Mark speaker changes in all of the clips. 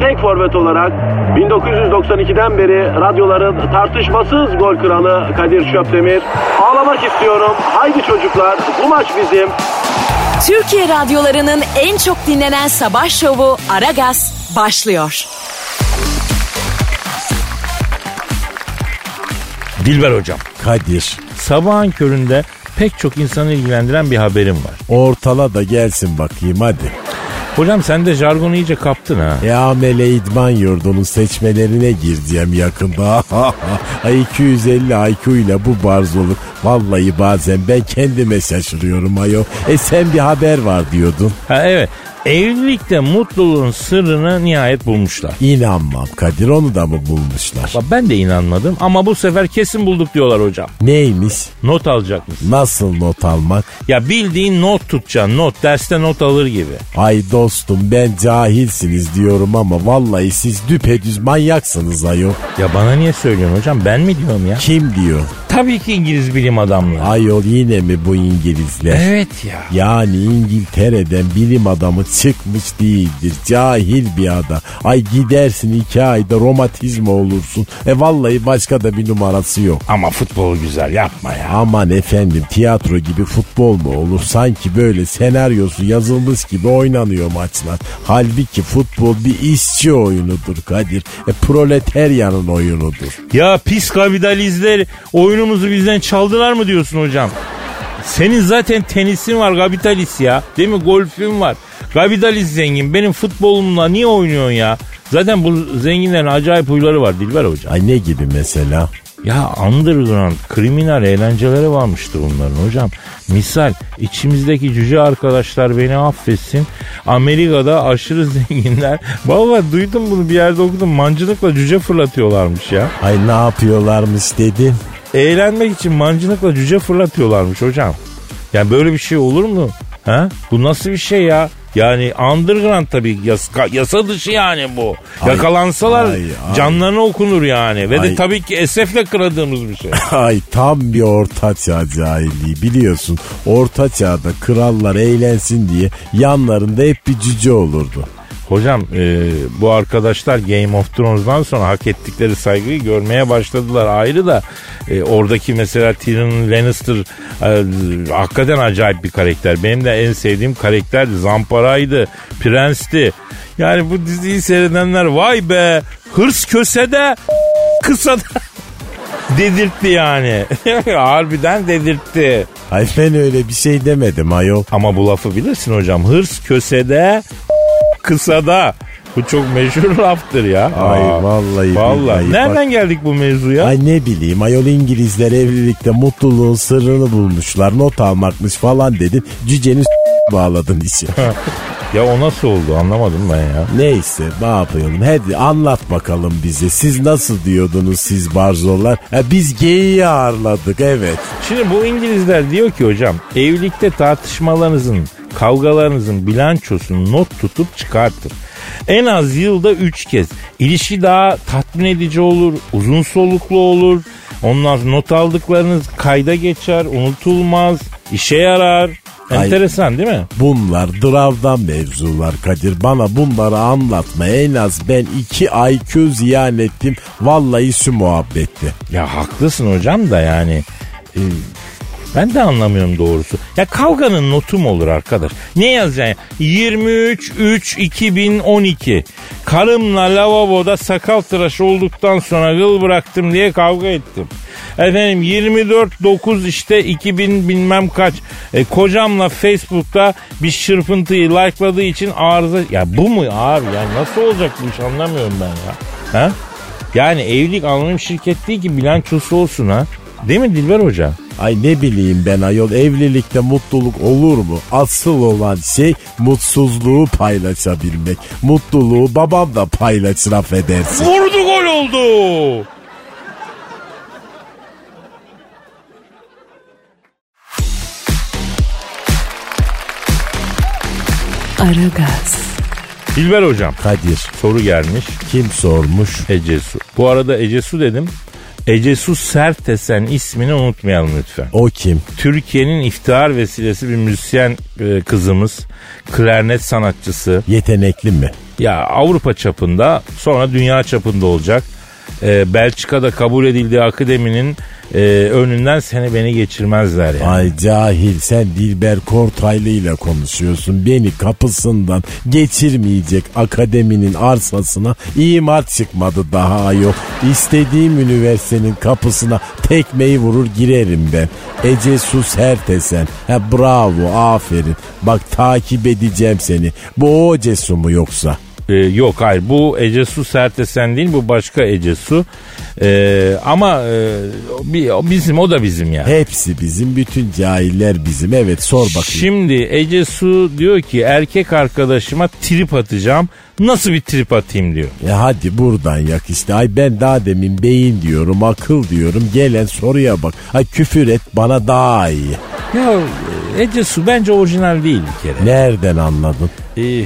Speaker 1: tek forvet olarak 1992'den beri radyoların tartışmasız gol kralı Kadir Şöpdemir. Ağlamak istiyorum. Haydi çocuklar bu maç bizim.
Speaker 2: Türkiye radyolarının en çok dinlenen sabah şovu Aragaz başlıyor.
Speaker 3: Dilber hocam.
Speaker 4: Kadir
Speaker 3: Sabahın köründe pek çok insanı ilgilendiren bir haberim var.
Speaker 4: ortala da gelsin bakayım hadi.
Speaker 3: Hocam sen de jargonu iyice kaptın ha.
Speaker 4: Ya Mele İdman Yurdu'nun seçmelerine gireceğim yakında. Ay 250 IQ ile bu barzoluk. Vallahi bazen ben kendime şaşırıyorum ayo. E sen bir haber var diyordun.
Speaker 3: Ha evet. Evlilikte mutluluğun sırrını nihayet bulmuşlar.
Speaker 4: İnanmam Kadir onu da mı bulmuşlar?
Speaker 3: Bak Ben de inanmadım ama bu sefer kesin bulduk diyorlar hocam.
Speaker 4: Neymiş?
Speaker 3: Not alacakmış.
Speaker 4: Nasıl not almak?
Speaker 3: Ya bildiğin not tutacaksın not. Derste not alır gibi.
Speaker 4: Ay dostum ben cahilsiniz diyorum ama vallahi siz düpedüz manyaksınız ayo.
Speaker 3: Ya bana niye söylüyorsun hocam ben mi diyorum ya?
Speaker 4: Kim diyor?
Speaker 3: Tabii ki İngiliz bilim adamları.
Speaker 4: Ayol yine mi bu İngilizler?
Speaker 3: Evet ya.
Speaker 4: Yani İngiltere'den bilim adamı çıkmış değildir. Cahil bir adam. Ay gidersin iki ayda romatizma olursun. E vallahi başka da bir numarası yok.
Speaker 3: Ama futbol güzel yapma ya.
Speaker 4: Aman efendim tiyatro gibi futbol mu olur? Sanki böyle senaryosu yazılmış gibi oynanıyor maçlar. Halbuki futbol bir işçi oyunudur Kadir. E, proleteryanın oyunudur.
Speaker 3: Ya pis kapitalizler oyunumuzu bizden çaldılar mı diyorsun hocam? Senin zaten tenisin var kapitalist ya. Değil mi? Golfün var. Kapitalist zengin. Benim futbolumla niye oynuyorsun ya? Zaten bu zenginlerin acayip huyları var Dilber hocam.
Speaker 4: Ay ne gibi mesela?
Speaker 3: Ya underground kriminal eğlenceleri varmıştır bunların hocam. Misal içimizdeki cüce arkadaşlar beni affetsin. Amerika'da aşırı zenginler. Vallahi duydum bunu bir yerde okudum. Mancınıkla cüce fırlatıyorlarmış ya.
Speaker 4: Ay ne yapıyorlarmış dedim.
Speaker 3: Eğlenmek için mancınıkla cüce fırlatıyorlarmış hocam. Yani böyle bir şey olur mu? Ha? Bu nasıl bir şey ya? Yani underground tabii yasa, yasa dışı yani bu.
Speaker 4: Ay,
Speaker 3: Yakalansalar
Speaker 4: ay, ay.
Speaker 3: canlarına okunur yani. Ve
Speaker 4: Ay.
Speaker 3: de tabii ki esefle kıradığımız bir şey.
Speaker 4: Ay tam bir orta çağ cahilliği biliyorsun. Orta çağda krallar eğlensin diye yanlarında hep bir cüce olurdu.
Speaker 3: Hocam e, bu arkadaşlar Game of Thrones'dan sonra hak ettikleri saygıyı görmeye başladılar ayrı da e, oradaki mesela Tyrion Lannister e, hakikaten acayip bir karakter. Benim de en sevdiğim karakterdi. Zamparaydı, prensti. Yani bu diziyi seyredenler vay be hırs kösede kısa da dedirtti yani. Harbiden dedirtti.
Speaker 4: Ay ben öyle bir şey demedim ayol.
Speaker 3: Ama bu lafı bilirsin hocam. Hırs kösede, kısada. Bu çok meşhur laftır ya.
Speaker 4: Ay, vallahi
Speaker 3: Vallahi.
Speaker 4: billahi
Speaker 3: Nereden geldik bu mevzuya?
Speaker 4: Ay ne bileyim ayol İngilizler evlilikte mutluluğun sırrını bulmuşlar. Not almakmış falan dedim. Cücenin s- bağladın işi.
Speaker 3: Ya o nasıl oldu anlamadım ben ya.
Speaker 4: Neyse ne yapalım. Hadi anlat bakalım bize. Siz nasıl diyordunuz siz barzolar? Ha, biz geyiği ağırladık evet.
Speaker 3: Şimdi bu İngilizler diyor ki hocam evlilikte tartışmalarınızın, kavgalarınızın bilançosunu not tutup çıkartın. En az yılda 3 kez. İlişki daha tatmin edici olur, uzun soluklu olur. Onlar not aldıklarınız kayda geçer, unutulmaz, işe yarar.
Speaker 4: Ay.
Speaker 3: Enteresan değil mi?
Speaker 4: Bunlar dravdan mevzular Kadir. Bana bunları anlatma. En az ben iki IQ ziyan ettim. Vallahi şu muhabbetti.
Speaker 3: Ya haklısın hocam da yani. e, ben de anlamıyorum doğrusu. Ya kavganın notu mu olur arkadaş? Ne yazacaksın? 23 3 2012. Karımla lavaboda sakal tıraşı olduktan sonra gıl bıraktım diye kavga ettim. Efendim 24 9 işte 2000 bilmem kaç. E, kocamla Facebook'ta bir şırpıntıyı likeladığı için arıza... Ya bu mu abi? Ya nasıl olacak bu iş anlamıyorum ben ya. Ha? Yani evlilik anonim şirket değil ki bilançosu olsun ha. Değil mi Dilber Hoca?
Speaker 4: Ay ne bileyim ben ayol evlilikte mutluluk olur mu? Asıl olan şey mutsuzluğu paylaşabilmek. Mutluluğu babam da paylaşır affedersin.
Speaker 3: Vurdu gol oldu.
Speaker 2: Aragaz,
Speaker 3: Dilber Hocam
Speaker 4: Kadir
Speaker 3: soru gelmiş.
Speaker 4: kim sormuş?
Speaker 3: Ece Su. Bu arada Ece Su dedim. Ece Su Sertesen ismini unutmayalım lütfen.
Speaker 4: O kim?
Speaker 3: Türkiye'nin iftihar vesilesi bir müzisyen e, kızımız. Klarnet sanatçısı.
Speaker 4: Yetenekli mi?
Speaker 3: Ya Avrupa çapında sonra dünya çapında olacak. E, Belçika'da kabul edildiği akademinin e, önünden seni beni geçirmezler yani.
Speaker 4: Ay cahil sen Dilber Kortaylı ile konuşuyorsun. Beni kapısından geçirmeyecek akademinin arsasına imar çıkmadı daha yok. İstediğim üniversitenin kapısına tekmeyi vurur girerim ben. Ece sus hertesen. Ha bravo aferin. Bak takip edeceğim seni. Bu o Cesu mu yoksa?
Speaker 3: Ee, yok hayır bu Ece Su Sertesen değil bu başka Ece Su. Ee, ama e, bi- bizim o da bizim yani.
Speaker 4: Hepsi bizim bütün cahiller bizim. Evet sor bakayım.
Speaker 3: Şimdi Ece Su diyor ki erkek arkadaşıma trip atacağım. Nasıl bir trip atayım diyor.
Speaker 4: E hadi buradan yak işte. Ay ben daha demin beyin diyorum, akıl diyorum. Gelen soruya bak. Ay küfür et bana daha iyi.
Speaker 3: Ya Ece Su bence orijinal değil bir kere.
Speaker 4: Nereden anladın?
Speaker 3: Ee,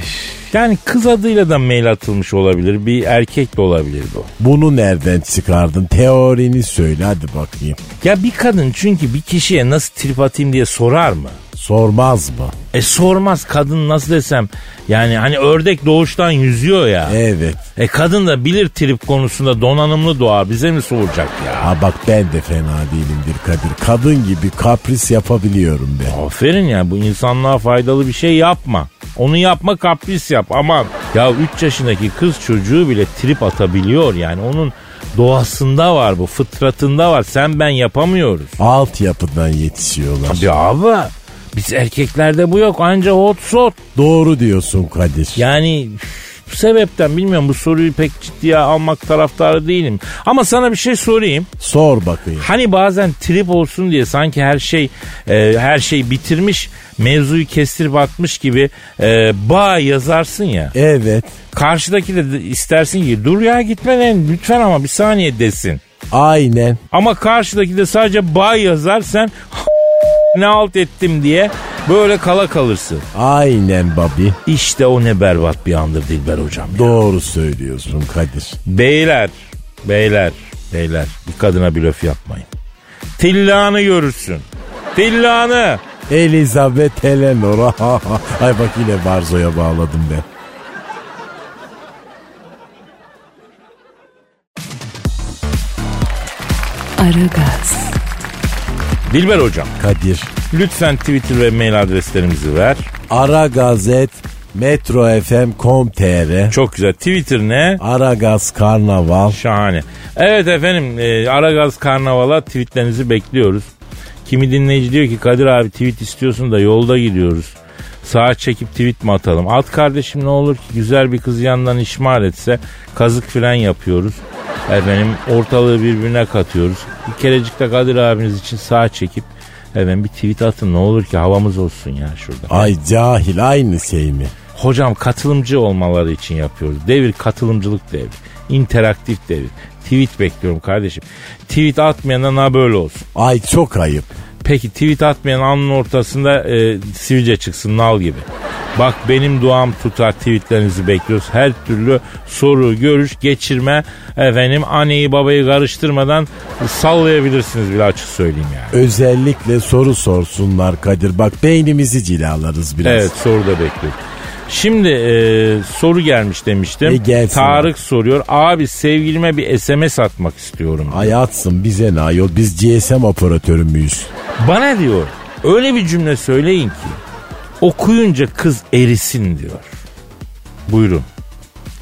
Speaker 3: yani kız adıyla da mail atılmış olabilir. Bir erkek de olabilir bu.
Speaker 4: Bunu nereden çıkardın? Teorini söyle hadi bakayım.
Speaker 3: Ya bir kadın çünkü bir kişiye nasıl trip atayım diye sorar mı?
Speaker 4: Sormaz mı?
Speaker 3: E sormaz kadın nasıl desem. Yani hani ördek doğuştan yüzüyor ya.
Speaker 4: Evet.
Speaker 3: E kadın da bilir trip konusunda donanımlı doğar bize mi soracak ya?
Speaker 4: Ha bak ben de fena değilimdir Kadir. Kadın gibi kapris yapabiliyorum ben.
Speaker 3: Aferin ya bu insanlığa faydalı bir şey yapma. Onu yapma kapris yap aman. Ya 3 yaşındaki kız çocuğu bile trip atabiliyor yani onun doğasında var bu fıtratında var sen ben yapamıyoruz.
Speaker 4: Altyapıdan yetişiyorlar.
Speaker 3: Tabii abi biz erkeklerde bu yok anca hot shot.
Speaker 4: Doğru diyorsun Kadir.
Speaker 3: Yani üf, bu sebepten bilmiyorum bu soruyu pek ciddiye almak taraftarı değilim. Ama sana bir şey sorayım.
Speaker 4: Sor bakayım.
Speaker 3: Hani bazen trip olsun diye sanki her şey e, her şey bitirmiş mevzuyu kestirip atmış gibi e, bağ yazarsın ya.
Speaker 4: Evet.
Speaker 3: Karşıdaki de istersin ki dur ya gitme lan, lütfen ama bir saniye desin.
Speaker 4: Aynen.
Speaker 3: Ama karşıdaki de sadece bağ yazar sen ne alt ettim diye böyle kala kalırsın.
Speaker 4: Aynen babi.
Speaker 3: İşte o ne berbat bir andır Dilber hocam. ya.
Speaker 4: Doğru söylüyorsun Kadir.
Speaker 3: Beyler, beyler, beyler bir kadına blöf yapmayın. Tillanı görürsün. Tillanı.
Speaker 4: Elizabeth Eleanor. Ay bak yine Barzo'ya bağladım ben.
Speaker 2: Aragaz,
Speaker 3: Dilber hocam
Speaker 4: Kadir.
Speaker 3: lütfen Twitter ve mail adreslerimizi ver.
Speaker 4: Ara Gazet metrofm.com.tr
Speaker 3: Çok güzel. Twitter ne?
Speaker 4: Ara Gaz Karnaval.
Speaker 3: Şahane. Evet efendim e, Aragaz Karnaval'a tweetlerinizi bekliyoruz. Kimi dinleyici diyor ki Kadir abi tweet istiyorsun da yolda gidiyoruz. Sağa çekip tweet mi atalım? At kardeşim ne olur ki güzel bir kız yandan işmal etse kazık fren yapıyoruz. Efendim ortalığı birbirine katıyoruz. Bir kerecik de Kadir abiniz için sağa çekip efendim bir tweet atın ne olur ki havamız olsun ya şurada.
Speaker 4: Ay cahil aynı şey mi?
Speaker 3: Hocam katılımcı olmaları için yapıyoruz. Devir katılımcılık devri. interaktif devir. Tweet bekliyorum kardeşim. Tweet atmayana na böyle olsun.
Speaker 4: Ay çok ayıp.
Speaker 3: Peki tweet atmayan anın ortasında e, sivilce çıksın nal gibi. Bak benim duam tutar tweetlerinizi bekliyoruz. Her türlü soru, görüş, geçirme efendim anneyi babayı karıştırmadan sallayabilirsiniz bile açık söyleyeyim yani.
Speaker 4: Özellikle soru sorsunlar Kadir. Bak beynimizi cilalarız biraz.
Speaker 3: Evet soru da bekliyorum. Şimdi e, soru gelmiş demiştim.
Speaker 4: E, gelsin.
Speaker 3: Tarık soruyor. Abi sevgilime bir SMS atmak istiyorum.
Speaker 4: Ay atsın bize ne ayol biz GSM operatörü müyüz?
Speaker 3: Bana diyor öyle bir cümle söyleyin ki okuyunca kız erisin diyor. Buyurun.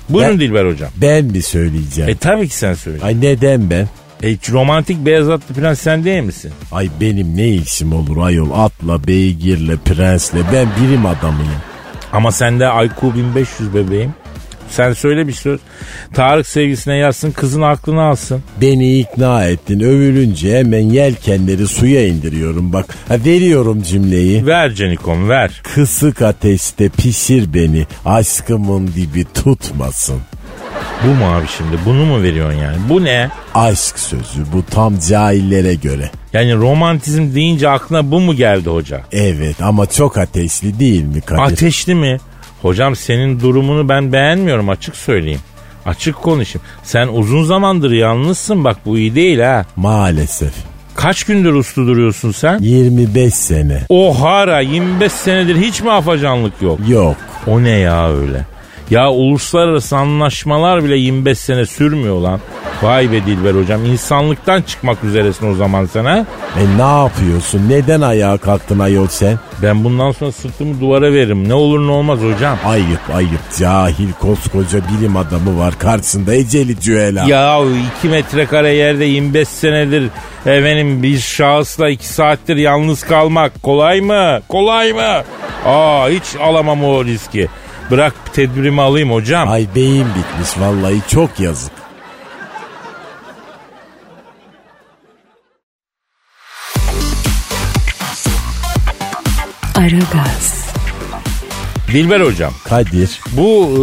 Speaker 3: Buyurun
Speaker 4: Ben-
Speaker 3: Dilber hocam.
Speaker 4: Ben mi söyleyeceğim?
Speaker 3: E tabii ki sen söyle.
Speaker 4: Ay neden ben?
Speaker 3: E, romantik beyaz atlı plan sen değil misin?
Speaker 4: Ay benim ne işim olur ayol atla, beygirle, prensle ben birim adamıyım.
Speaker 3: Ama sende IQ 1500 bebeğim. Sen söyle bir söz. Tarık sevgisine yazsın kızın aklını alsın.
Speaker 4: Beni ikna ettin. Övülünce hemen yelkenleri suya indiriyorum bak. Ha, veriyorum cümleyi.
Speaker 3: Ver Canikom ver.
Speaker 4: Kısık ateşte pişir beni. Aşkımın dibi tutmasın.
Speaker 3: Bu mu abi şimdi bunu mu veriyorsun yani? Bu ne?
Speaker 4: Aşk sözü bu tam cahillere göre.
Speaker 3: Yani romantizm deyince aklına bu mu geldi hoca?
Speaker 4: Evet ama çok ateşli değil mi Kadir?
Speaker 3: Ateşli mi? Hocam senin durumunu ben beğenmiyorum açık söyleyeyim. Açık konuşayım. Sen uzun zamandır yalnızsın bak bu iyi değil ha.
Speaker 4: Maalesef.
Speaker 3: Kaç gündür uslu duruyorsun sen?
Speaker 4: 25 sene.
Speaker 3: Ohara 25 senedir hiç mi afacanlık yok?
Speaker 4: Yok.
Speaker 3: O ne ya öyle? Ya uluslararası anlaşmalar bile 25 sene sürmüyor lan. Vay be Dilber hocam insanlıktan çıkmak üzeresin o zaman sen ha.
Speaker 4: E ne yapıyorsun? Neden ayağa kalktın ayol sen?
Speaker 3: Ben bundan sonra sırtımı duvara veririm. Ne olur ne olmaz hocam.
Speaker 4: Ayıp ayıp cahil koskoca bilim adamı var karşısında Eceli Cüela.
Speaker 3: Ya 2 metrekare yerde 25 senedir efendim bir şahısla 2 saattir yalnız kalmak kolay mı? Kolay mı? Aa hiç alamam o riski. Bırak tedbirimi alayım hocam.
Speaker 4: Ay beyim bitmiş vallahi çok yazık.
Speaker 2: Aragaz,
Speaker 3: Dilber hocam
Speaker 4: Kadir.
Speaker 3: bu e,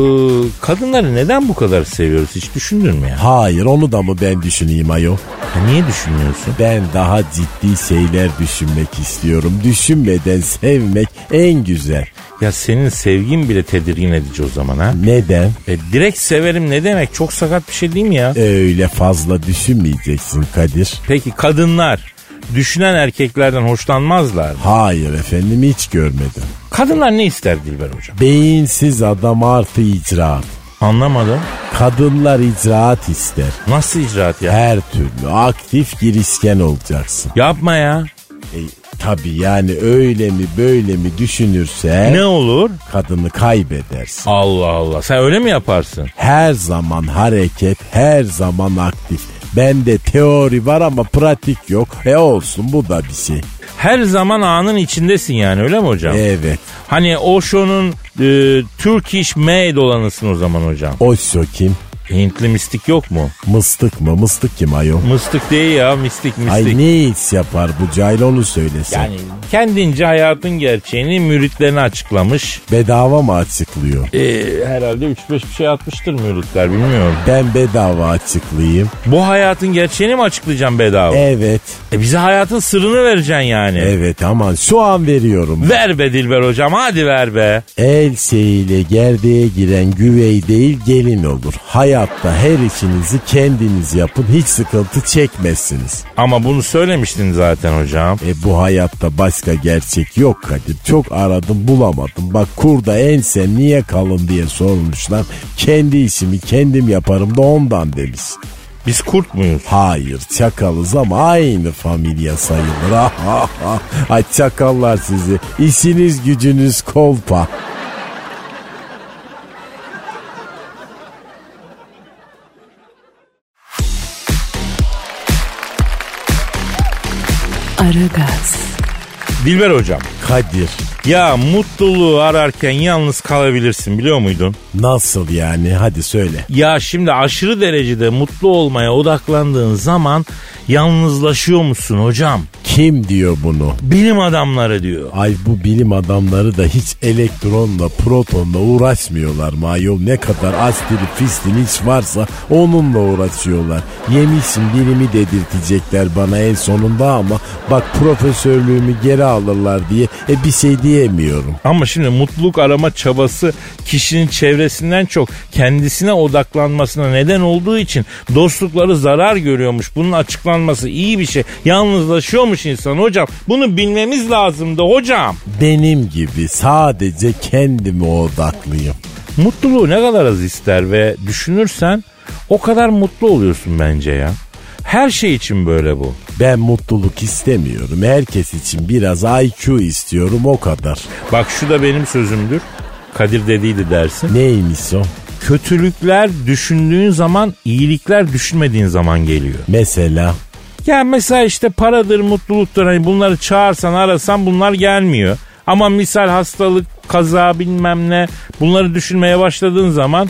Speaker 3: kadınları neden bu kadar seviyoruz hiç düşündün mü ya?
Speaker 4: Hayır onu da mı ben düşüneyim ayol?
Speaker 3: Ha, niye düşünmüyorsun?
Speaker 4: Ben daha ciddi şeyler düşünmek istiyorum. Düşünmeden sevmek en güzel.
Speaker 3: Ya senin sevgin bile tedirgin edici o zaman ha.
Speaker 4: Neden?
Speaker 3: E, direkt severim ne demek çok sakat bir şey değil mi ya?
Speaker 4: Öyle fazla düşünmeyeceksin Kadir.
Speaker 3: Peki kadınlar düşünen erkeklerden hoşlanmazlar mı?
Speaker 4: Hayır efendim hiç görmedim.
Speaker 3: Kadınlar ne ister Dilber hocam?
Speaker 4: Beyinsiz adam artı icraat.
Speaker 3: Anlamadım.
Speaker 4: Kadınlar icraat ister.
Speaker 3: Nasıl icraat ya?
Speaker 4: Her türlü aktif girişken olacaksın.
Speaker 3: Yapma ya.
Speaker 4: E, tabii yani öyle mi böyle mi düşünürse
Speaker 3: Ne olur?
Speaker 4: kadını kaybedersin.
Speaker 3: Allah Allah. Sen öyle mi yaparsın?
Speaker 4: Her zaman hareket, her zaman aktif. Bende teori var ama pratik yok. E olsun bu da bir şey.
Speaker 3: Her zaman anın içindesin yani öyle mi hocam?
Speaker 4: Evet.
Speaker 3: Hani Osho'nun e, Turkish Maid olanısın o zaman hocam.
Speaker 4: Osho kim?
Speaker 3: Hintli mistik yok mu?
Speaker 4: Mıstık mı? Mıstık kim ayol?
Speaker 3: Mıstık değil ya mistik mistik.
Speaker 4: Ay ne his yapar bu cahil onu söylesin.
Speaker 3: yani kendince hayatın gerçeğini müritlerine açıklamış.
Speaker 4: Bedava mı açıklıyor?
Speaker 3: E, herhalde 3-5 bir şey atmıştır müritler bilmiyorum.
Speaker 4: Ben bedava açıklayayım.
Speaker 3: Bu hayatın gerçeğini mi açıklayacağım bedava?
Speaker 4: Evet.
Speaker 3: E, bize hayatın sırrını vereceksin yani.
Speaker 4: Evet aman şu an veriyorum.
Speaker 3: Ver be Dilber hocam hadi ver be.
Speaker 4: El şeyiyle gerdeğe giren güvey değil gelin olur. Hayatta her işinizi kendiniz yapın hiç sıkıntı çekmezsiniz.
Speaker 3: Ama bunu söylemiştin zaten hocam.
Speaker 4: E bu hayatta başka gerçek yok Kadir. Çok aradım bulamadım. Bak kurda ensen niye kalın diye sormuşlar. Kendi işimi kendim yaparım da ondan demiş.
Speaker 3: Biz kurt muyuz?
Speaker 4: Hayır çakalız ama aynı familya sayılır. Ay çakallar sizi. İşiniz gücünüz kolpa.
Speaker 2: Aragaz,
Speaker 3: Dilber hocam.
Speaker 4: Kadir
Speaker 3: Ya mutluluğu ararken yalnız kalabilirsin biliyor muydun?
Speaker 4: nasıl yani hadi söyle.
Speaker 3: Ya şimdi aşırı derecede mutlu olmaya odaklandığın zaman yalnızlaşıyor musun hocam?
Speaker 4: Kim diyor bunu?
Speaker 3: Bilim adamları diyor.
Speaker 4: Ay bu bilim adamları da hiç elektronla protonla uğraşmıyorlar mı ayol? Ne kadar astili fistin hiç varsa onunla uğraşıyorlar. Yemişim bilimi dedirtecekler bana en sonunda ama bak profesörlüğümü geri alırlar diye e, bir şey diyemiyorum.
Speaker 3: Ama şimdi mutluluk arama çabası kişinin çevresinden çok kendisine odaklanmasına neden olduğu için dostlukları zarar görüyormuş. Bunun açıklanması iyi bir şey. Yalnızlaşıyormuş insan hocam. Bunu bilmemiz lazımdı hocam.
Speaker 4: Benim gibi sadece kendime odaklıyım.
Speaker 3: Mutluluğu ne kadar az ister ve düşünürsen o kadar mutlu oluyorsun bence ya. Her şey için böyle bu.
Speaker 4: Ben mutluluk istemiyorum. Herkes için biraz IQ istiyorum o kadar.
Speaker 3: Bak şu da benim sözümdür. Kadir dediydi dersin.
Speaker 4: Neymiş o?
Speaker 3: Kötülükler düşündüğün zaman, iyilikler düşünmediğin zaman geliyor.
Speaker 4: Mesela
Speaker 3: Ya mesela işte paradır, mutluluktur hani bunları çağırsan, arasan bunlar gelmiyor. Ama misal hastalık, kaza bilmem ne bunları düşünmeye başladığın zaman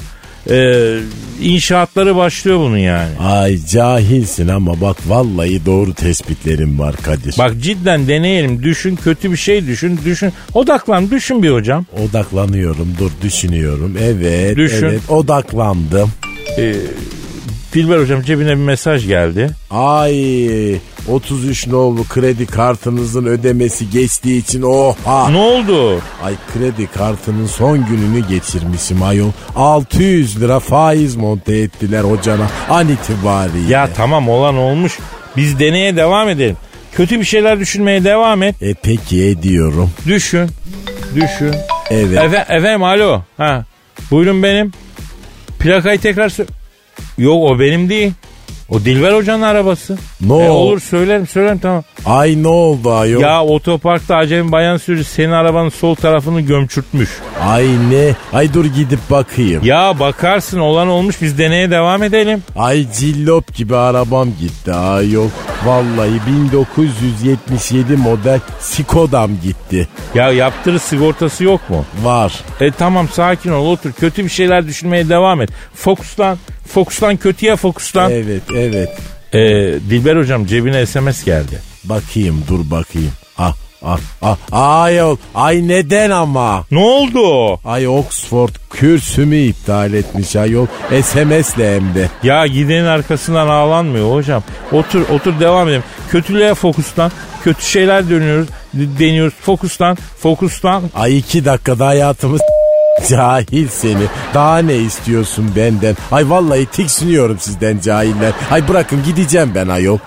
Speaker 3: e, inşaatları başlıyor bunun yani.
Speaker 4: Ay cahilsin ama bak vallahi doğru tespitlerim var Kadir.
Speaker 3: Bak cidden deneyelim. Düşün kötü bir şey düşün. Düşün. Odaklan düşün bir hocam.
Speaker 4: Odaklanıyorum dur düşünüyorum. Evet
Speaker 3: Düşün.
Speaker 4: evet odaklandım.
Speaker 3: E, Dilber hocam cebine bir mesaj geldi.
Speaker 4: Ay 33 nolu kredi kartınızın ödemesi geçtiği için oha.
Speaker 3: Ne oldu?
Speaker 4: Ay kredi kartının son gününü geçirmişim ayol. 600 lira faiz monte ettiler hocana an itibariyle.
Speaker 3: Ya tamam olan olmuş. Biz deneye devam edelim. Kötü bir şeyler düşünmeye devam et.
Speaker 4: E peki ediyorum.
Speaker 3: Düşün. Düşün.
Speaker 4: Evet.
Speaker 3: Efe, efendim alo. Ha. Buyurun benim. Plakayı tekrar sö- Yok o benim değil. O Dilber hocanın arabası.
Speaker 4: Ne
Speaker 3: E,
Speaker 4: o?
Speaker 3: olur söylerim söylerim tamam.
Speaker 4: Ay ne oldu ayol?
Speaker 3: Ya otoparkta acemi bayan sürücü senin arabanın sol tarafını gömçürtmüş.
Speaker 4: Ay ne? Ay dur gidip bakayım.
Speaker 3: Ya bakarsın olan olmuş biz deneye devam edelim.
Speaker 4: Ay cillop gibi arabam gitti ayol. Vallahi 1977 model Skoda'm gitti.
Speaker 3: Ya yaptırı sigortası yok mu?
Speaker 4: Var.
Speaker 3: E tamam sakin ol otur kötü bir şeyler düşünmeye devam et. Fokuslan. Fokuslan kötüye fokuslan.
Speaker 4: Evet evet.
Speaker 3: E, Dilber hocam cebine SMS geldi.
Speaker 4: Bakayım dur bakayım. Ah ah ah. Ayol. Ay neden ama?
Speaker 3: Ne oldu?
Speaker 4: Ay Oxford kürsümü iptal etmiş ayol. SMS'le hem de.
Speaker 3: Ya gidenin arkasından ağlanmıyor hocam. Otur otur devam edelim. Kötülüğe fokuslan. Kötü şeyler dönüyoruz. d- Deniyoruz. Fokuslan. Fokuslan.
Speaker 4: Ay iki dakikada hayatımız cahil seni. Daha ne istiyorsun benden? Ay vallahi tiksiniyorum sizden cahiller. Ay bırakın gideceğim ben ayol.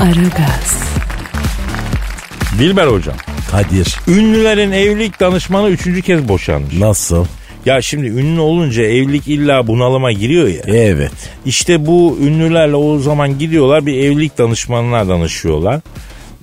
Speaker 2: Aragaz,
Speaker 3: Dilber hocam.
Speaker 4: Kadir
Speaker 3: Ünlülerin evlilik danışmanı üçüncü kez boşanmış.
Speaker 4: nasıl?
Speaker 3: Ya şimdi ünlü olunca evlilik illa bunalıma giriyor ya.
Speaker 4: Evet.
Speaker 3: İşte bu ünlülerle o zaman gidiyorlar bir evlilik danışmanına danışıyorlar.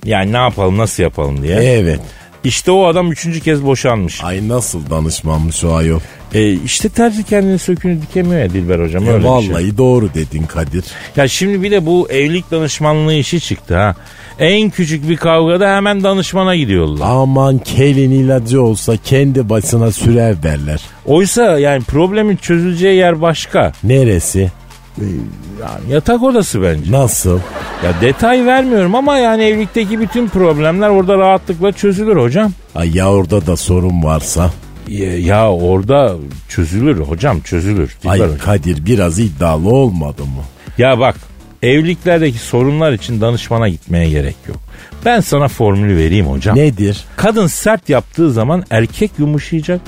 Speaker 3: Yani ne yapalım nasıl yapalım diye.
Speaker 4: Evet.
Speaker 3: işte o adam üçüncü kez boşanmış.
Speaker 4: Ay nasıl danışmanmış o ayol.
Speaker 3: E, işte terzi kendini sökünü dikemiyor ya Dilber hocam. öyle bir
Speaker 4: Ya
Speaker 3: şey.
Speaker 4: vallahi doğru dedin Kadir.
Speaker 3: Ya şimdi bir de bu evlilik danışmanlığı işi çıktı ha. En küçük bir kavgada hemen danışmana gidiyorlar.
Speaker 4: Aman kelin ilacı olsa kendi başına sürer derler.
Speaker 3: Oysa yani problemin çözüleceği yer başka.
Speaker 4: Neresi?
Speaker 3: Yani yatak odası bence.
Speaker 4: Nasıl?
Speaker 3: Ya detay vermiyorum ama yani evlilikteki bütün problemler orada rahatlıkla çözülür hocam.
Speaker 4: Ay ya orada da sorun varsa.
Speaker 3: Ya, ya orada çözülür hocam çözülür. Dilber
Speaker 4: Ay
Speaker 3: hocam.
Speaker 4: Kadir biraz iddialı olmadı mı?
Speaker 3: Ya bak evliliklerdeki sorunlar için danışmana gitmeye gerek yok. Ben sana formülü vereyim hocam.
Speaker 4: Nedir?
Speaker 3: Kadın sert yaptığı zaman erkek yumuşayacak.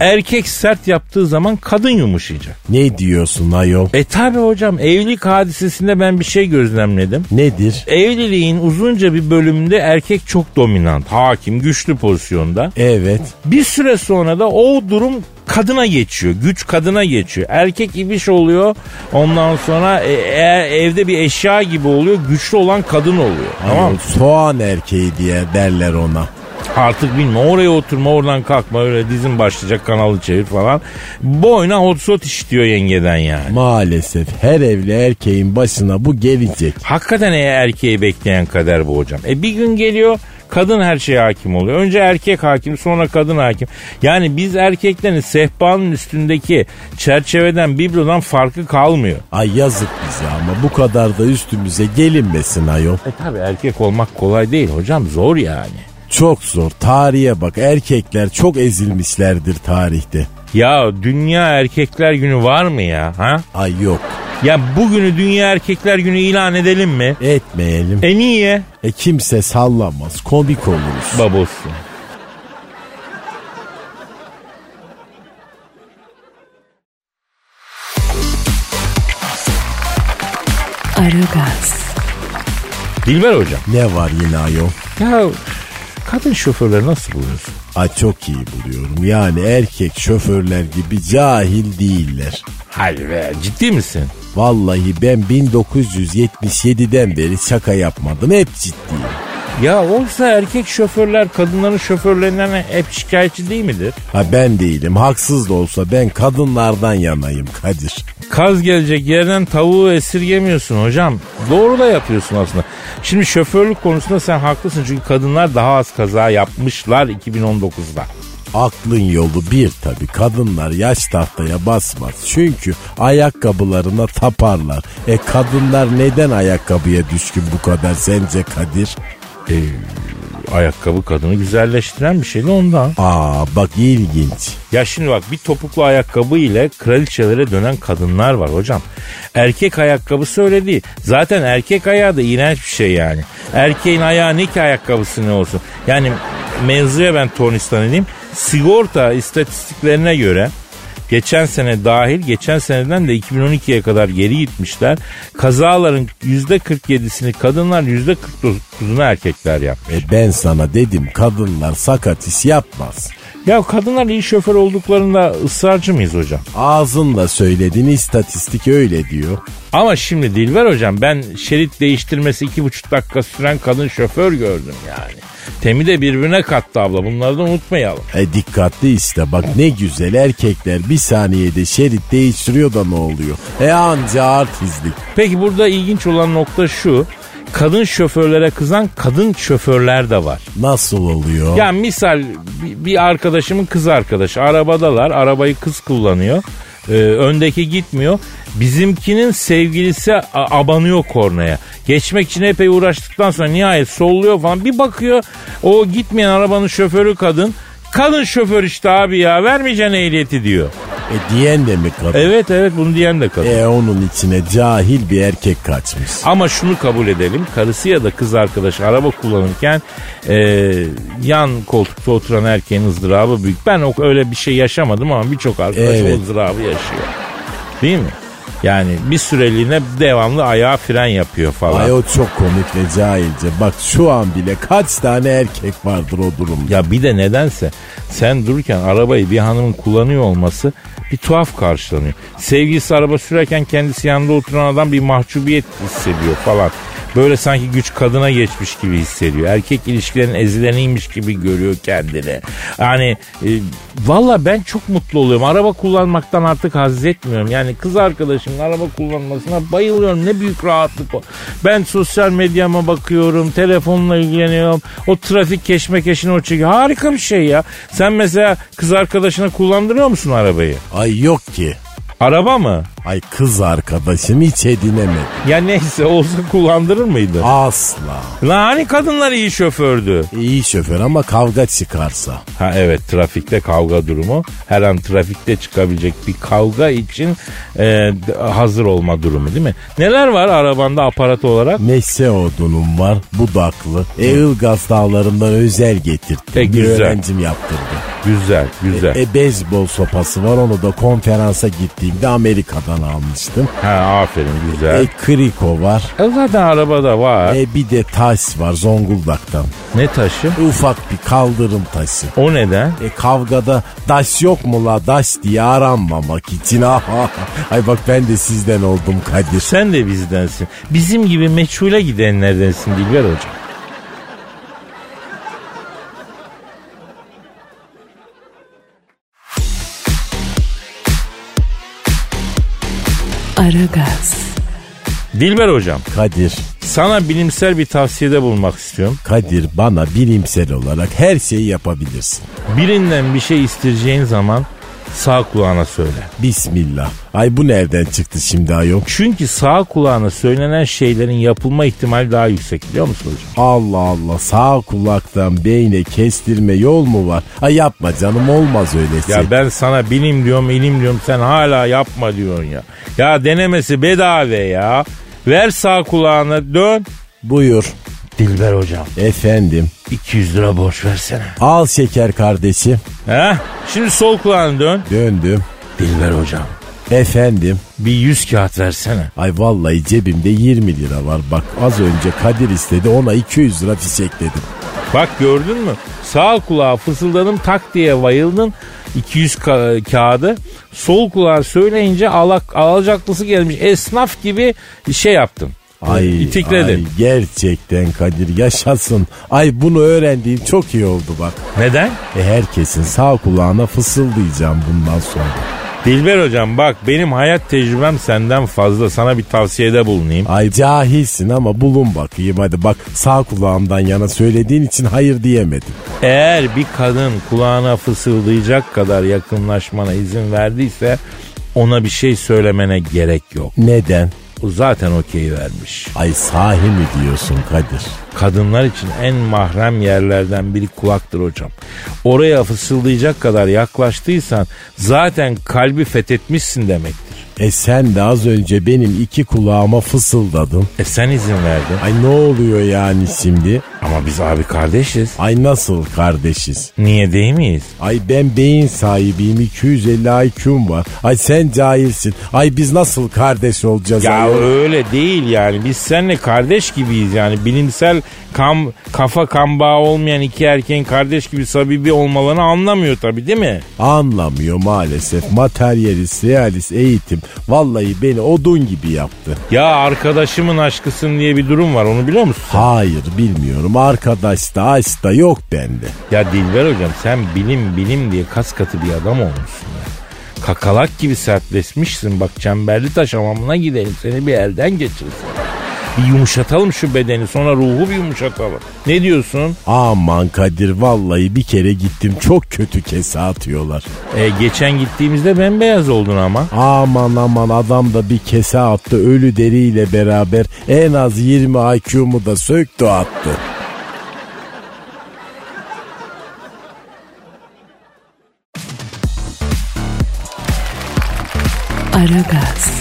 Speaker 3: Erkek sert yaptığı zaman kadın yumuşayacak.
Speaker 4: Ne diyorsun ayol?
Speaker 3: E tabi hocam evlilik hadisesinde ben bir şey gözlemledim.
Speaker 4: Nedir?
Speaker 3: Evliliğin uzunca bir bölümünde erkek çok dominant, hakim, güçlü pozisyonda.
Speaker 4: Evet.
Speaker 3: Bir süre sonra da o durum kadına geçiyor. Güç kadına geçiyor. Erkek ibiş oluyor. Ondan sonra e, e- evde bir eşya gibi oluyor. Güçlü olan kadın oluyor. Tamam
Speaker 4: Ayol,
Speaker 3: mı?
Speaker 4: soğan erkeği diye derler ona.
Speaker 3: Artık bilme oraya oturma oradan kalkma öyle dizin başlayacak kanalı çevir falan. Boyuna hot shot işitiyor yengeden yani.
Speaker 4: Maalesef her evli erkeğin başına bu gelecek.
Speaker 3: Hakikaten e, erkeği bekleyen kader bu hocam. E bir gün geliyor kadın her şeye hakim oluyor. Önce erkek hakim sonra kadın hakim. Yani biz erkeklerin sehpanın üstündeki çerçeveden biblodan farkı kalmıyor.
Speaker 4: Ay yazık bize ama bu kadar da üstümüze gelinmesin ayol.
Speaker 3: E tabi erkek olmak kolay değil hocam zor yani.
Speaker 4: Çok zor. Tarihe bak. Erkekler çok ezilmişlerdir tarihte.
Speaker 3: Ya Dünya Erkekler Günü var mı ya? Ha?
Speaker 4: Ay yok.
Speaker 3: Ya bugünü Dünya Erkekler Günü ilan edelim mi?
Speaker 4: Etmeyelim.
Speaker 3: E niye?
Speaker 4: E kimse sallamaz. Komik oluruz.
Speaker 3: Babosu.
Speaker 2: Aragaz,
Speaker 3: Dilber hocam.
Speaker 4: Ne var yine ayol?
Speaker 3: Ya kadın şoförleri nasıl buluyorsun?
Speaker 4: Ay çok iyi buluyorum. Yani erkek şoförler gibi cahil değiller.
Speaker 3: Hayır be ciddi misin?
Speaker 4: Vallahi ben 1977'den beri şaka yapmadım. Hep ciddiyim.
Speaker 3: Ya oysa erkek şoförler kadınların şoförlerinden hep şikayetçi değil midir?
Speaker 4: Ha ben değilim. Haksız da olsa ben kadınlardan yanayım Kadir.
Speaker 3: Kaz gelecek yerden tavuğu esirgemiyorsun hocam. Doğru da yapıyorsun aslında. Şimdi şoförlük konusunda sen haklısın çünkü kadınlar daha az kaza yapmışlar 2019'da.
Speaker 4: Aklın yolu bir tabi kadınlar yaş tahtaya basmaz çünkü ayakkabılarına taparlar. E kadınlar neden ayakkabıya düşkün bu kadar sence Kadir?
Speaker 3: Ayakkabı kadını güzelleştiren bir şey de ondan.
Speaker 4: Aa bak ilginç.
Speaker 3: Ya şimdi bak bir topuklu ayakkabı ile kraliçelere dönen kadınlar var hocam. Erkek ayakkabısı öyle değil. Zaten erkek ayağı da iğrenç bir şey yani. Erkeğin ayağı ne ki ayakkabısı ne olsun. Yani mevzuya ben tornistan edeyim. Sigorta istatistiklerine göre geçen sene dahil geçen seneden de 2012'ye kadar geri gitmişler. Kazaların %47'sini kadınlar %49'unu erkekler yapmış.
Speaker 4: E ben sana dedim kadınlar sakat iş yapmaz.
Speaker 3: Ya kadınlar iyi şoför olduklarında ısrarcı mıyız hocam?
Speaker 4: Ağzınla söyledin istatistik öyle diyor.
Speaker 3: Ama şimdi Dilber hocam ben şerit değiştirmesi iki buçuk dakika süren kadın şoför gördüm yani. Temi de birbirine kattı abla bunları da unutmayalım.
Speaker 4: E dikkatli işte bak ne güzel erkekler bir saniyede şerit değiştiriyor da ne oluyor? E anca artizlik.
Speaker 3: Peki burada ilginç olan nokta şu. Kadın şoförlere kızan kadın şoförler de var.
Speaker 4: Nasıl oluyor?
Speaker 3: Ya misal bi- bir arkadaşımın kız arkadaşı arabadalar. Arabayı kız kullanıyor. Ee, öndeki gitmiyor. Bizimkinin sevgilisi a- abanıyor kornaya. Geçmek için epey uğraştıktan sonra nihayet solluyor falan. Bir bakıyor o gitmeyen arabanın şoförü kadın. Kadın şoför işte abi ya vermeyeceksin ehliyeti diyor.
Speaker 4: E diyen de mi kadın?
Speaker 3: Evet evet bunu diyen de kadın.
Speaker 4: E onun içine cahil bir erkek kaçmış.
Speaker 3: Ama şunu kabul edelim. Karısı ya da kız arkadaşı araba kullanırken e, yan koltukta oturan erkeğin ızdırabı büyük. Ben o öyle bir şey yaşamadım ama birçok arkadaş
Speaker 4: Evet.
Speaker 3: o ızdırabı yaşıyor. Değil mi? Yani bir süreliğine devamlı ayağa fren yapıyor falan.
Speaker 4: Ay o çok komik ve cahilce. Bak şu an bile kaç tane erkek vardır o durumda.
Speaker 3: Ya bir de nedense sen dururken arabayı bir hanımın kullanıyor olması bir tuhaf karşılanıyor. Sevgilisi araba sürerken kendisi yanında oturan adam bir mahcubiyet hissediyor falan. Böyle sanki güç kadına geçmiş gibi hissediyor. Erkek ilişkilerin ezileniymiş gibi görüyor kendini. Yani e, valla ben çok mutlu oluyorum. Araba kullanmaktan artık haz etmiyorum. Yani kız arkadaşımın araba kullanmasına bayılıyorum. Ne büyük rahatlık o. Ben sosyal medyama bakıyorum. Telefonla ilgileniyorum. O trafik keşmekeşini o çekiyor. Harika bir şey ya. Sen mesela kız arkadaşına kullandırıyor musun arabayı?
Speaker 4: Ay yok ki.
Speaker 3: Araba mı?
Speaker 4: Ay kız arkadaşım hiç edinemedim.
Speaker 3: Ya neyse olsa kullandırır mıydı?
Speaker 4: Asla.
Speaker 3: Lan hani kadınlar iyi şofördü.
Speaker 4: İyi şoför ama kavga çıkarsa.
Speaker 3: Ha evet trafikte kavga durumu. Her an trafikte çıkabilecek bir kavga için e, d- hazır olma durumu değil mi? Neler var arabanda aparat olarak?
Speaker 4: Meşe odunum var, budaklı. E Ilgaz dağlarından özel getirtti.
Speaker 3: E,
Speaker 4: bir
Speaker 3: güzel.
Speaker 4: öğrencim yaptırdı.
Speaker 3: Güzel güzel.
Speaker 4: E beyzbol sopası var onu da konferansa gittiğimde Amerika'dan almıştım.
Speaker 3: ha aferin güzel.
Speaker 4: E kriko var.
Speaker 3: E, zaten arabada var.
Speaker 4: E bir de taş var Zonguldak'tan.
Speaker 3: ne taşı?
Speaker 4: E, ufak bir kaldırım taşı.
Speaker 3: O neden?
Speaker 4: E kavgada daş yok mu la daş diye aranmamak için. Ay bak ben de sizden oldum Kadir.
Speaker 3: Sen de bizdensin. Bizim gibi meçhule gidenlerdensin Dilber Hocam.
Speaker 2: Aragaz,
Speaker 3: Dilber Hocam
Speaker 4: Kadir,
Speaker 3: sana bilimsel bir tavsiyede bulunmak istiyorum.
Speaker 4: Kadir bana bilimsel olarak her şeyi yapabilirsin.
Speaker 3: Birinden bir şey istireceğin zaman sağ kulağına söyle.
Speaker 4: Bismillah. Ay bu nereden çıktı şimdi ayol?
Speaker 3: Çünkü sağ kulağına söylenen şeylerin yapılma ihtimali daha yüksek biliyor musun hocam?
Speaker 4: Allah Allah sağ kulaktan beyne kestirme yol mu var? Ay yapma canım olmaz öyle şey.
Speaker 3: Ya ben sana bilim diyorum ilim diyorum sen hala yapma diyorsun ya. Ya denemesi bedava ya. Ver sağ kulağına dön.
Speaker 4: Buyur
Speaker 3: Dilber hocam
Speaker 4: efendim.
Speaker 3: 200 lira borç versene.
Speaker 4: Al şeker kardeşim.
Speaker 3: He? Şimdi sol kulağına dön.
Speaker 4: Döndüm.
Speaker 3: Dilber hocam
Speaker 4: Efendim.
Speaker 3: bir 100 kağıt versene.
Speaker 4: Ay vallahi cebimde 20 lira var bak. Az önce Kadir istedi ona 200 lira fişekledim.
Speaker 3: Bak gördün mü? Sağ kulağa fısıldadım tak diye bayıldın. 200 ka- kağıdı. Sol kulağa söyleyince alak alacaklısı gelmiş esnaf gibi şey yaptın.
Speaker 4: Ay, ay
Speaker 3: İtikledin.
Speaker 4: gerçekten Kadir yaşasın. Ay bunu öğrendiğim çok iyi oldu bak.
Speaker 3: Neden?
Speaker 4: E herkesin sağ kulağına fısıldayacağım bundan sonra.
Speaker 3: Dilber hocam bak benim hayat tecrübem senden fazla. Sana bir tavsiyede bulunayım.
Speaker 4: Ay cahilsin ama bulun bakayım hadi bak sağ kulağımdan yana söylediğin için hayır diyemedim.
Speaker 3: Eğer bir kadın kulağına fısıldayacak kadar yakınlaşmana izin verdiyse ona bir şey söylemene gerek yok.
Speaker 4: Neden?
Speaker 3: O zaten okey vermiş.
Speaker 4: Ay sahi mi diyorsun Kadir?
Speaker 3: Kadınlar için en mahrem yerlerden biri kulaktır hocam. Oraya fısıldayacak kadar yaklaştıysan zaten kalbi fethetmişsin demektir.
Speaker 4: E sen de az önce benim iki kulağıma fısıldadın.
Speaker 3: E sen izin verdin.
Speaker 4: Ay ne oluyor yani şimdi?
Speaker 3: Ama biz abi kardeşiz.
Speaker 4: Ay nasıl kardeşiz?
Speaker 3: Niye değil miyiz?
Speaker 4: Ay ben beyin sahibiyim 250 IQ'm var. Ay sen cahilsin. Ay biz nasıl kardeş olacağız?
Speaker 3: Ya
Speaker 4: ayol?
Speaker 3: öyle değil yani. Biz seninle kardeş gibiyiz yani. Bilimsel kam, kafa kambağı olmayan iki erkeğin kardeş gibi sabibi olmalarını anlamıyor tabii değil mi?
Speaker 4: Anlamıyor maalesef. Materyalist, realist eğitim. Vallahi beni odun gibi yaptı.
Speaker 3: Ya arkadaşımın aşkısın diye bir durum var onu biliyor musun?
Speaker 4: Hayır bilmiyorum. Arkadaş da aç da yok bende.
Speaker 3: Ya Dilber hocam sen bilim bilim diye kas katı bir adam olmuşsun ya. Kakalak gibi sertleşmişsin bak çemberli taş hamamına gidelim seni bir elden geçirsin. Bir yumuşatalım şu bedeni sonra ruhu bir yumuşatalım. Ne diyorsun?
Speaker 4: Aman Kadir vallahi bir kere gittim çok kötü kese atıyorlar.
Speaker 3: E, geçen gittiğimizde bembeyaz oldun ama.
Speaker 4: Aman aman adam da bir kese attı ölü deriyle beraber en az 20 IQ'mu da söktü attı.
Speaker 2: Aragaz,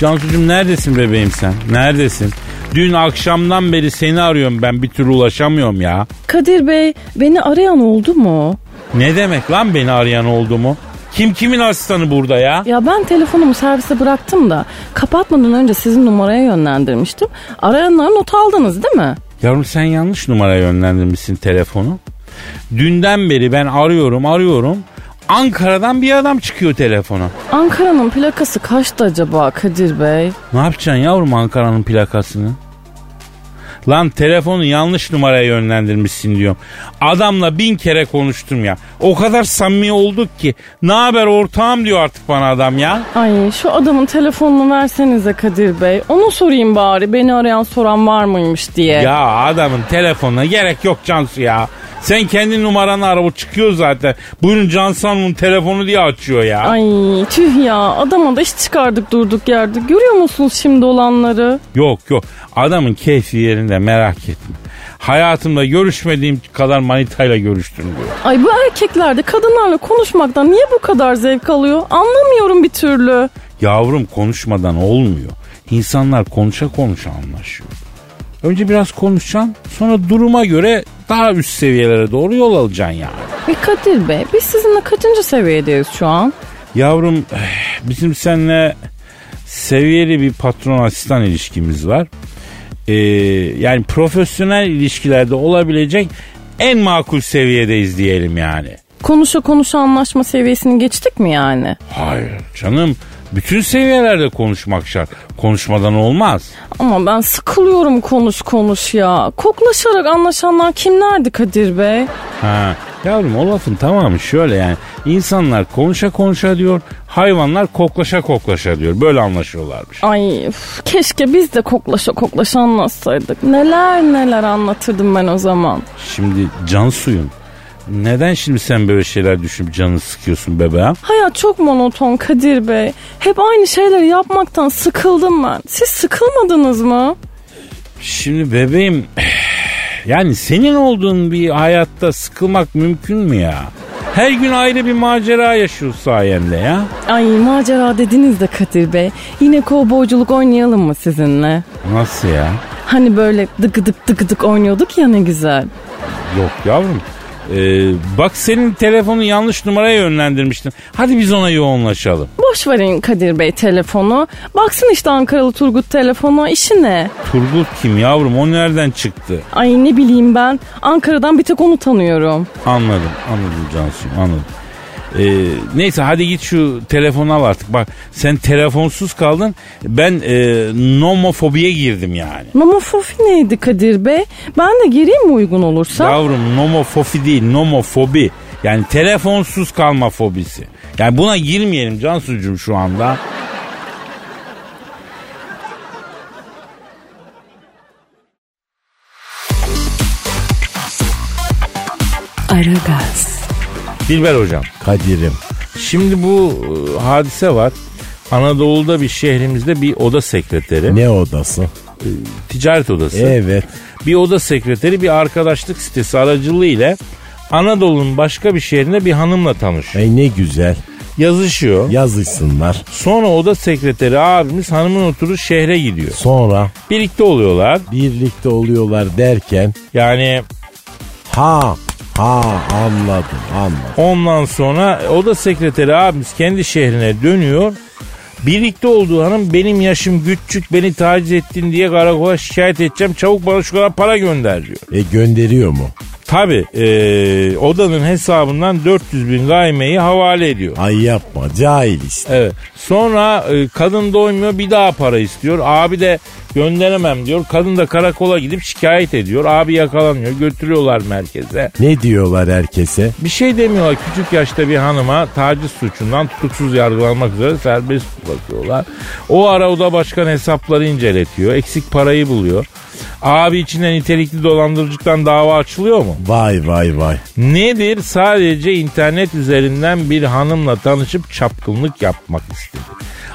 Speaker 3: Cansucuğum neredesin bebeğim sen? Neredesin? Dün akşamdan beri seni arıyorum ben bir türlü ulaşamıyorum ya.
Speaker 5: Kadir Bey Şey, beni arayan oldu mu?
Speaker 3: Ne demek lan beni arayan oldu mu? Kim kimin asistanı burada ya?
Speaker 5: Ya ben telefonumu servise bıraktım da kapatmadan önce sizin numaraya yönlendirmiştim. Arayanları not aldınız değil mi?
Speaker 3: Yavrum sen yanlış numara yönlendirmişsin telefonu. Dünden beri ben arıyorum arıyorum. Ankara'dan bir adam çıkıyor telefona.
Speaker 5: Ankara'nın plakası kaçtı acaba Kadir Bey?
Speaker 3: Ne yapacaksın yavrum Ankara'nın plakasını? Lan telefonu yanlış numaraya yönlendirmişsin diyorum. Adamla bin kere konuştum ya. O kadar samimi olduk ki. Ne haber ortağım diyor artık bana adam ya.
Speaker 5: Ay şu adamın telefonunu versenize Kadir Bey. Onu sorayım bari beni arayan soran var mıymış diye.
Speaker 3: Ya adamın telefonuna gerek yok Cansu ya. Sen kendi numaranı ara o çıkıyor zaten. Buyurun Cansu Hanım'ın telefonu diye açıyor ya.
Speaker 5: Ay tüh ya adama da iş çıkardık durduk yerde. Görüyor musunuz şimdi olanları?
Speaker 3: Yok yok adamın keyfi yerinde merak etme. Hayatımda görüşmediğim kadar manitayla görüştüm diyor.
Speaker 5: Ay bu erkekler de kadınlarla konuşmaktan niye bu kadar zevk alıyor? Anlamıyorum bir türlü.
Speaker 3: Yavrum konuşmadan olmuyor. İnsanlar konuşa konuşa anlaşıyor. Önce biraz konuşacaksın sonra duruma göre daha üst seviyelere doğru yol alacaksın yani.
Speaker 5: E Kadir Bey biz sizinle kaçıncı seviyedeyiz şu an?
Speaker 3: Yavrum eh, bizim seninle seviyeli bir patron asistan ilişkimiz var. Ee, yani profesyonel ilişkilerde olabilecek en makul seviyedeyiz diyelim yani.
Speaker 5: Konuşa konuşa anlaşma seviyesini geçtik mi yani?
Speaker 3: Hayır canım. Bütün seviyelerde konuşmak şart. Konuşmadan olmaz.
Speaker 5: Ama ben sıkılıyorum konuş konuş ya. Koklaşarak anlaşanlar kimlerdi Kadir Bey?
Speaker 3: Ha. Yavrum o lafın tamamı şöyle yani. İnsanlar konuşa konuşa diyor. Hayvanlar koklaşa koklaşa diyor. Böyle anlaşıyorlarmış.
Speaker 5: Ay üf, keşke biz de koklaşa koklaşa anlatsaydık. Neler neler anlatırdım ben o zaman.
Speaker 3: Şimdi can suyum. Neden şimdi sen böyle şeyler düşünüp canını sıkıyorsun bebeğim?
Speaker 5: Hayat çok monoton Kadir Bey. Hep aynı şeyleri yapmaktan sıkıldım ben. Siz sıkılmadınız mı?
Speaker 3: Şimdi bebeğim yani senin olduğun bir hayatta sıkılmak mümkün mü ya? Her gün ayrı bir macera yaşıyorsun sayende ya.
Speaker 5: Ay macera dediniz de Kadir Bey. Yine kovboyculuk oynayalım mı sizinle?
Speaker 3: Nasıl ya?
Speaker 5: Hani böyle dıgıdık dıgıdık oynuyorduk ya ne güzel.
Speaker 3: Yok yavrum. Ee, bak senin telefonu yanlış numaraya yönlendirmiştin. Hadi biz ona yoğunlaşalım.
Speaker 5: Boş verin Kadir Bey telefonu. Baksın işte Ankaralı Turgut telefonu işi ne?
Speaker 3: Turgut kim yavrum o nereden çıktı?
Speaker 5: Ay ne bileyim ben. Ankara'dan bir tek onu tanıyorum.
Speaker 3: Anladım anladım Cansu'yum anladım. Ee, neyse hadi git şu telefonu al artık. Bak sen telefonsuz kaldın. Ben e, nomofobiye girdim yani.
Speaker 5: Nomofofi neydi Kadir Bey? Ben de gireyim mi uygun olursa?
Speaker 3: Yavrum nomofofi değil nomofobi. Yani telefonsuz kalma fobisi. Yani buna girmeyelim Cansucuğum şu anda.
Speaker 2: Aragaz,
Speaker 3: Dilber hocam.
Speaker 4: Kadir'im.
Speaker 3: Şimdi bu e, hadise var. Anadolu'da bir şehrimizde bir oda sekreteri.
Speaker 4: Ne odası?
Speaker 3: Ticaret odası.
Speaker 4: Evet.
Speaker 3: Bir oda sekreteri bir arkadaşlık sitesi aracılığıyla Anadolu'nun başka bir şehrinde bir hanımla tanışıyor.
Speaker 4: Ey ne güzel.
Speaker 3: Yazışıyor.
Speaker 4: Yazışsınlar.
Speaker 3: Sonra oda sekreteri abimiz hanımın oturduğu şehre gidiyor.
Speaker 4: Sonra
Speaker 3: Birlikte oluyorlar.
Speaker 4: birlikte oluyorlar derken
Speaker 3: Yani
Speaker 4: ha ha anladım anladım.
Speaker 3: ondan sonra oda sekreteri abimiz kendi şehrine dönüyor. Birlikte olduğu hanım benim yaşım küçük beni taciz ettin diye karakola şikayet edeceğim. Çabuk bana şu kadar para gönder diyor.
Speaker 4: E gönderiyor mu?
Speaker 3: Tabi eee, e, odanın hesabından 400 bin gaymeyi havale ediyor.
Speaker 4: Ay yapma cahil işte.
Speaker 3: Evet. Sonra e, kadın doymuyor bir daha para istiyor. Abi de gönderemem diyor. Kadın da karakola gidip şikayet ediyor. Abi yakalanıyor götürüyorlar merkeze.
Speaker 4: Ne diyorlar herkese?
Speaker 3: Bir şey demiyorlar küçük yaşta bir hanıma taciz suçundan tutuksuz yargılanmak üzere serbest bırakıyorlar. O ara o da başkan hesapları inceletiyor. Eksik parayı buluyor. Abi içinde nitelikli dolandırıcılıktan dava açılıyor mu?
Speaker 4: Vay vay vay.
Speaker 3: Nedir? Sadece internet üzerinden bir hanımla tanışıp çapkınlık yapmak istedi.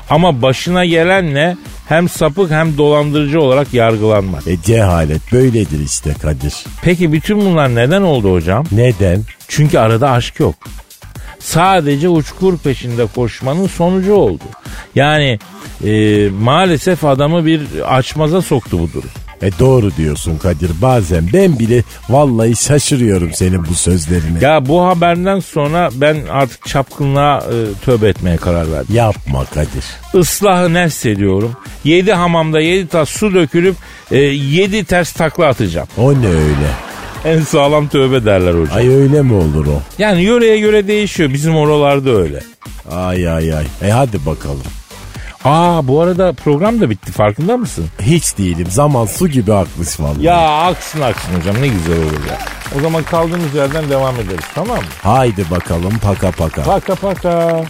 Speaker 3: Ama başına gelenle hem sapık hem dolandırıcı olarak yargılanmak.
Speaker 4: E cehalet böyledir işte Kadir.
Speaker 3: Peki bütün bunlar neden oldu hocam?
Speaker 4: Neden?
Speaker 3: Çünkü arada aşk yok. Sadece uçkur peşinde koşmanın sonucu oldu. Yani e, maalesef adamı bir açmaza soktu bu durum.
Speaker 4: E doğru diyorsun Kadir. Bazen ben bile vallahi şaşırıyorum senin bu sözlerine.
Speaker 3: Ya bu haberden sonra ben artık çapkınlığa e, tövbe etmeye karar verdim.
Speaker 4: Yapma Kadir.
Speaker 3: ıslahı nefs ediyorum. Yedi hamamda yedi tas su dökülüp e, yedi ters takla atacağım.
Speaker 4: O ne öyle?
Speaker 3: En sağlam tövbe derler hocam.
Speaker 4: Ay öyle mi olur o?
Speaker 3: Yani yöreye göre değişiyor. Bizim oralarda öyle.
Speaker 4: Ay ay ay. E hadi bakalım.
Speaker 3: Aa bu arada program da bitti farkında mısın?
Speaker 4: Hiç değilim. Zaman su gibi haklısın vallahi.
Speaker 3: Ya aksın aksın hocam ne güzel olur ya. O zaman kaldığımız yerden devam ederiz tamam mı?
Speaker 4: Haydi bakalım paka paka.
Speaker 3: Paka paka.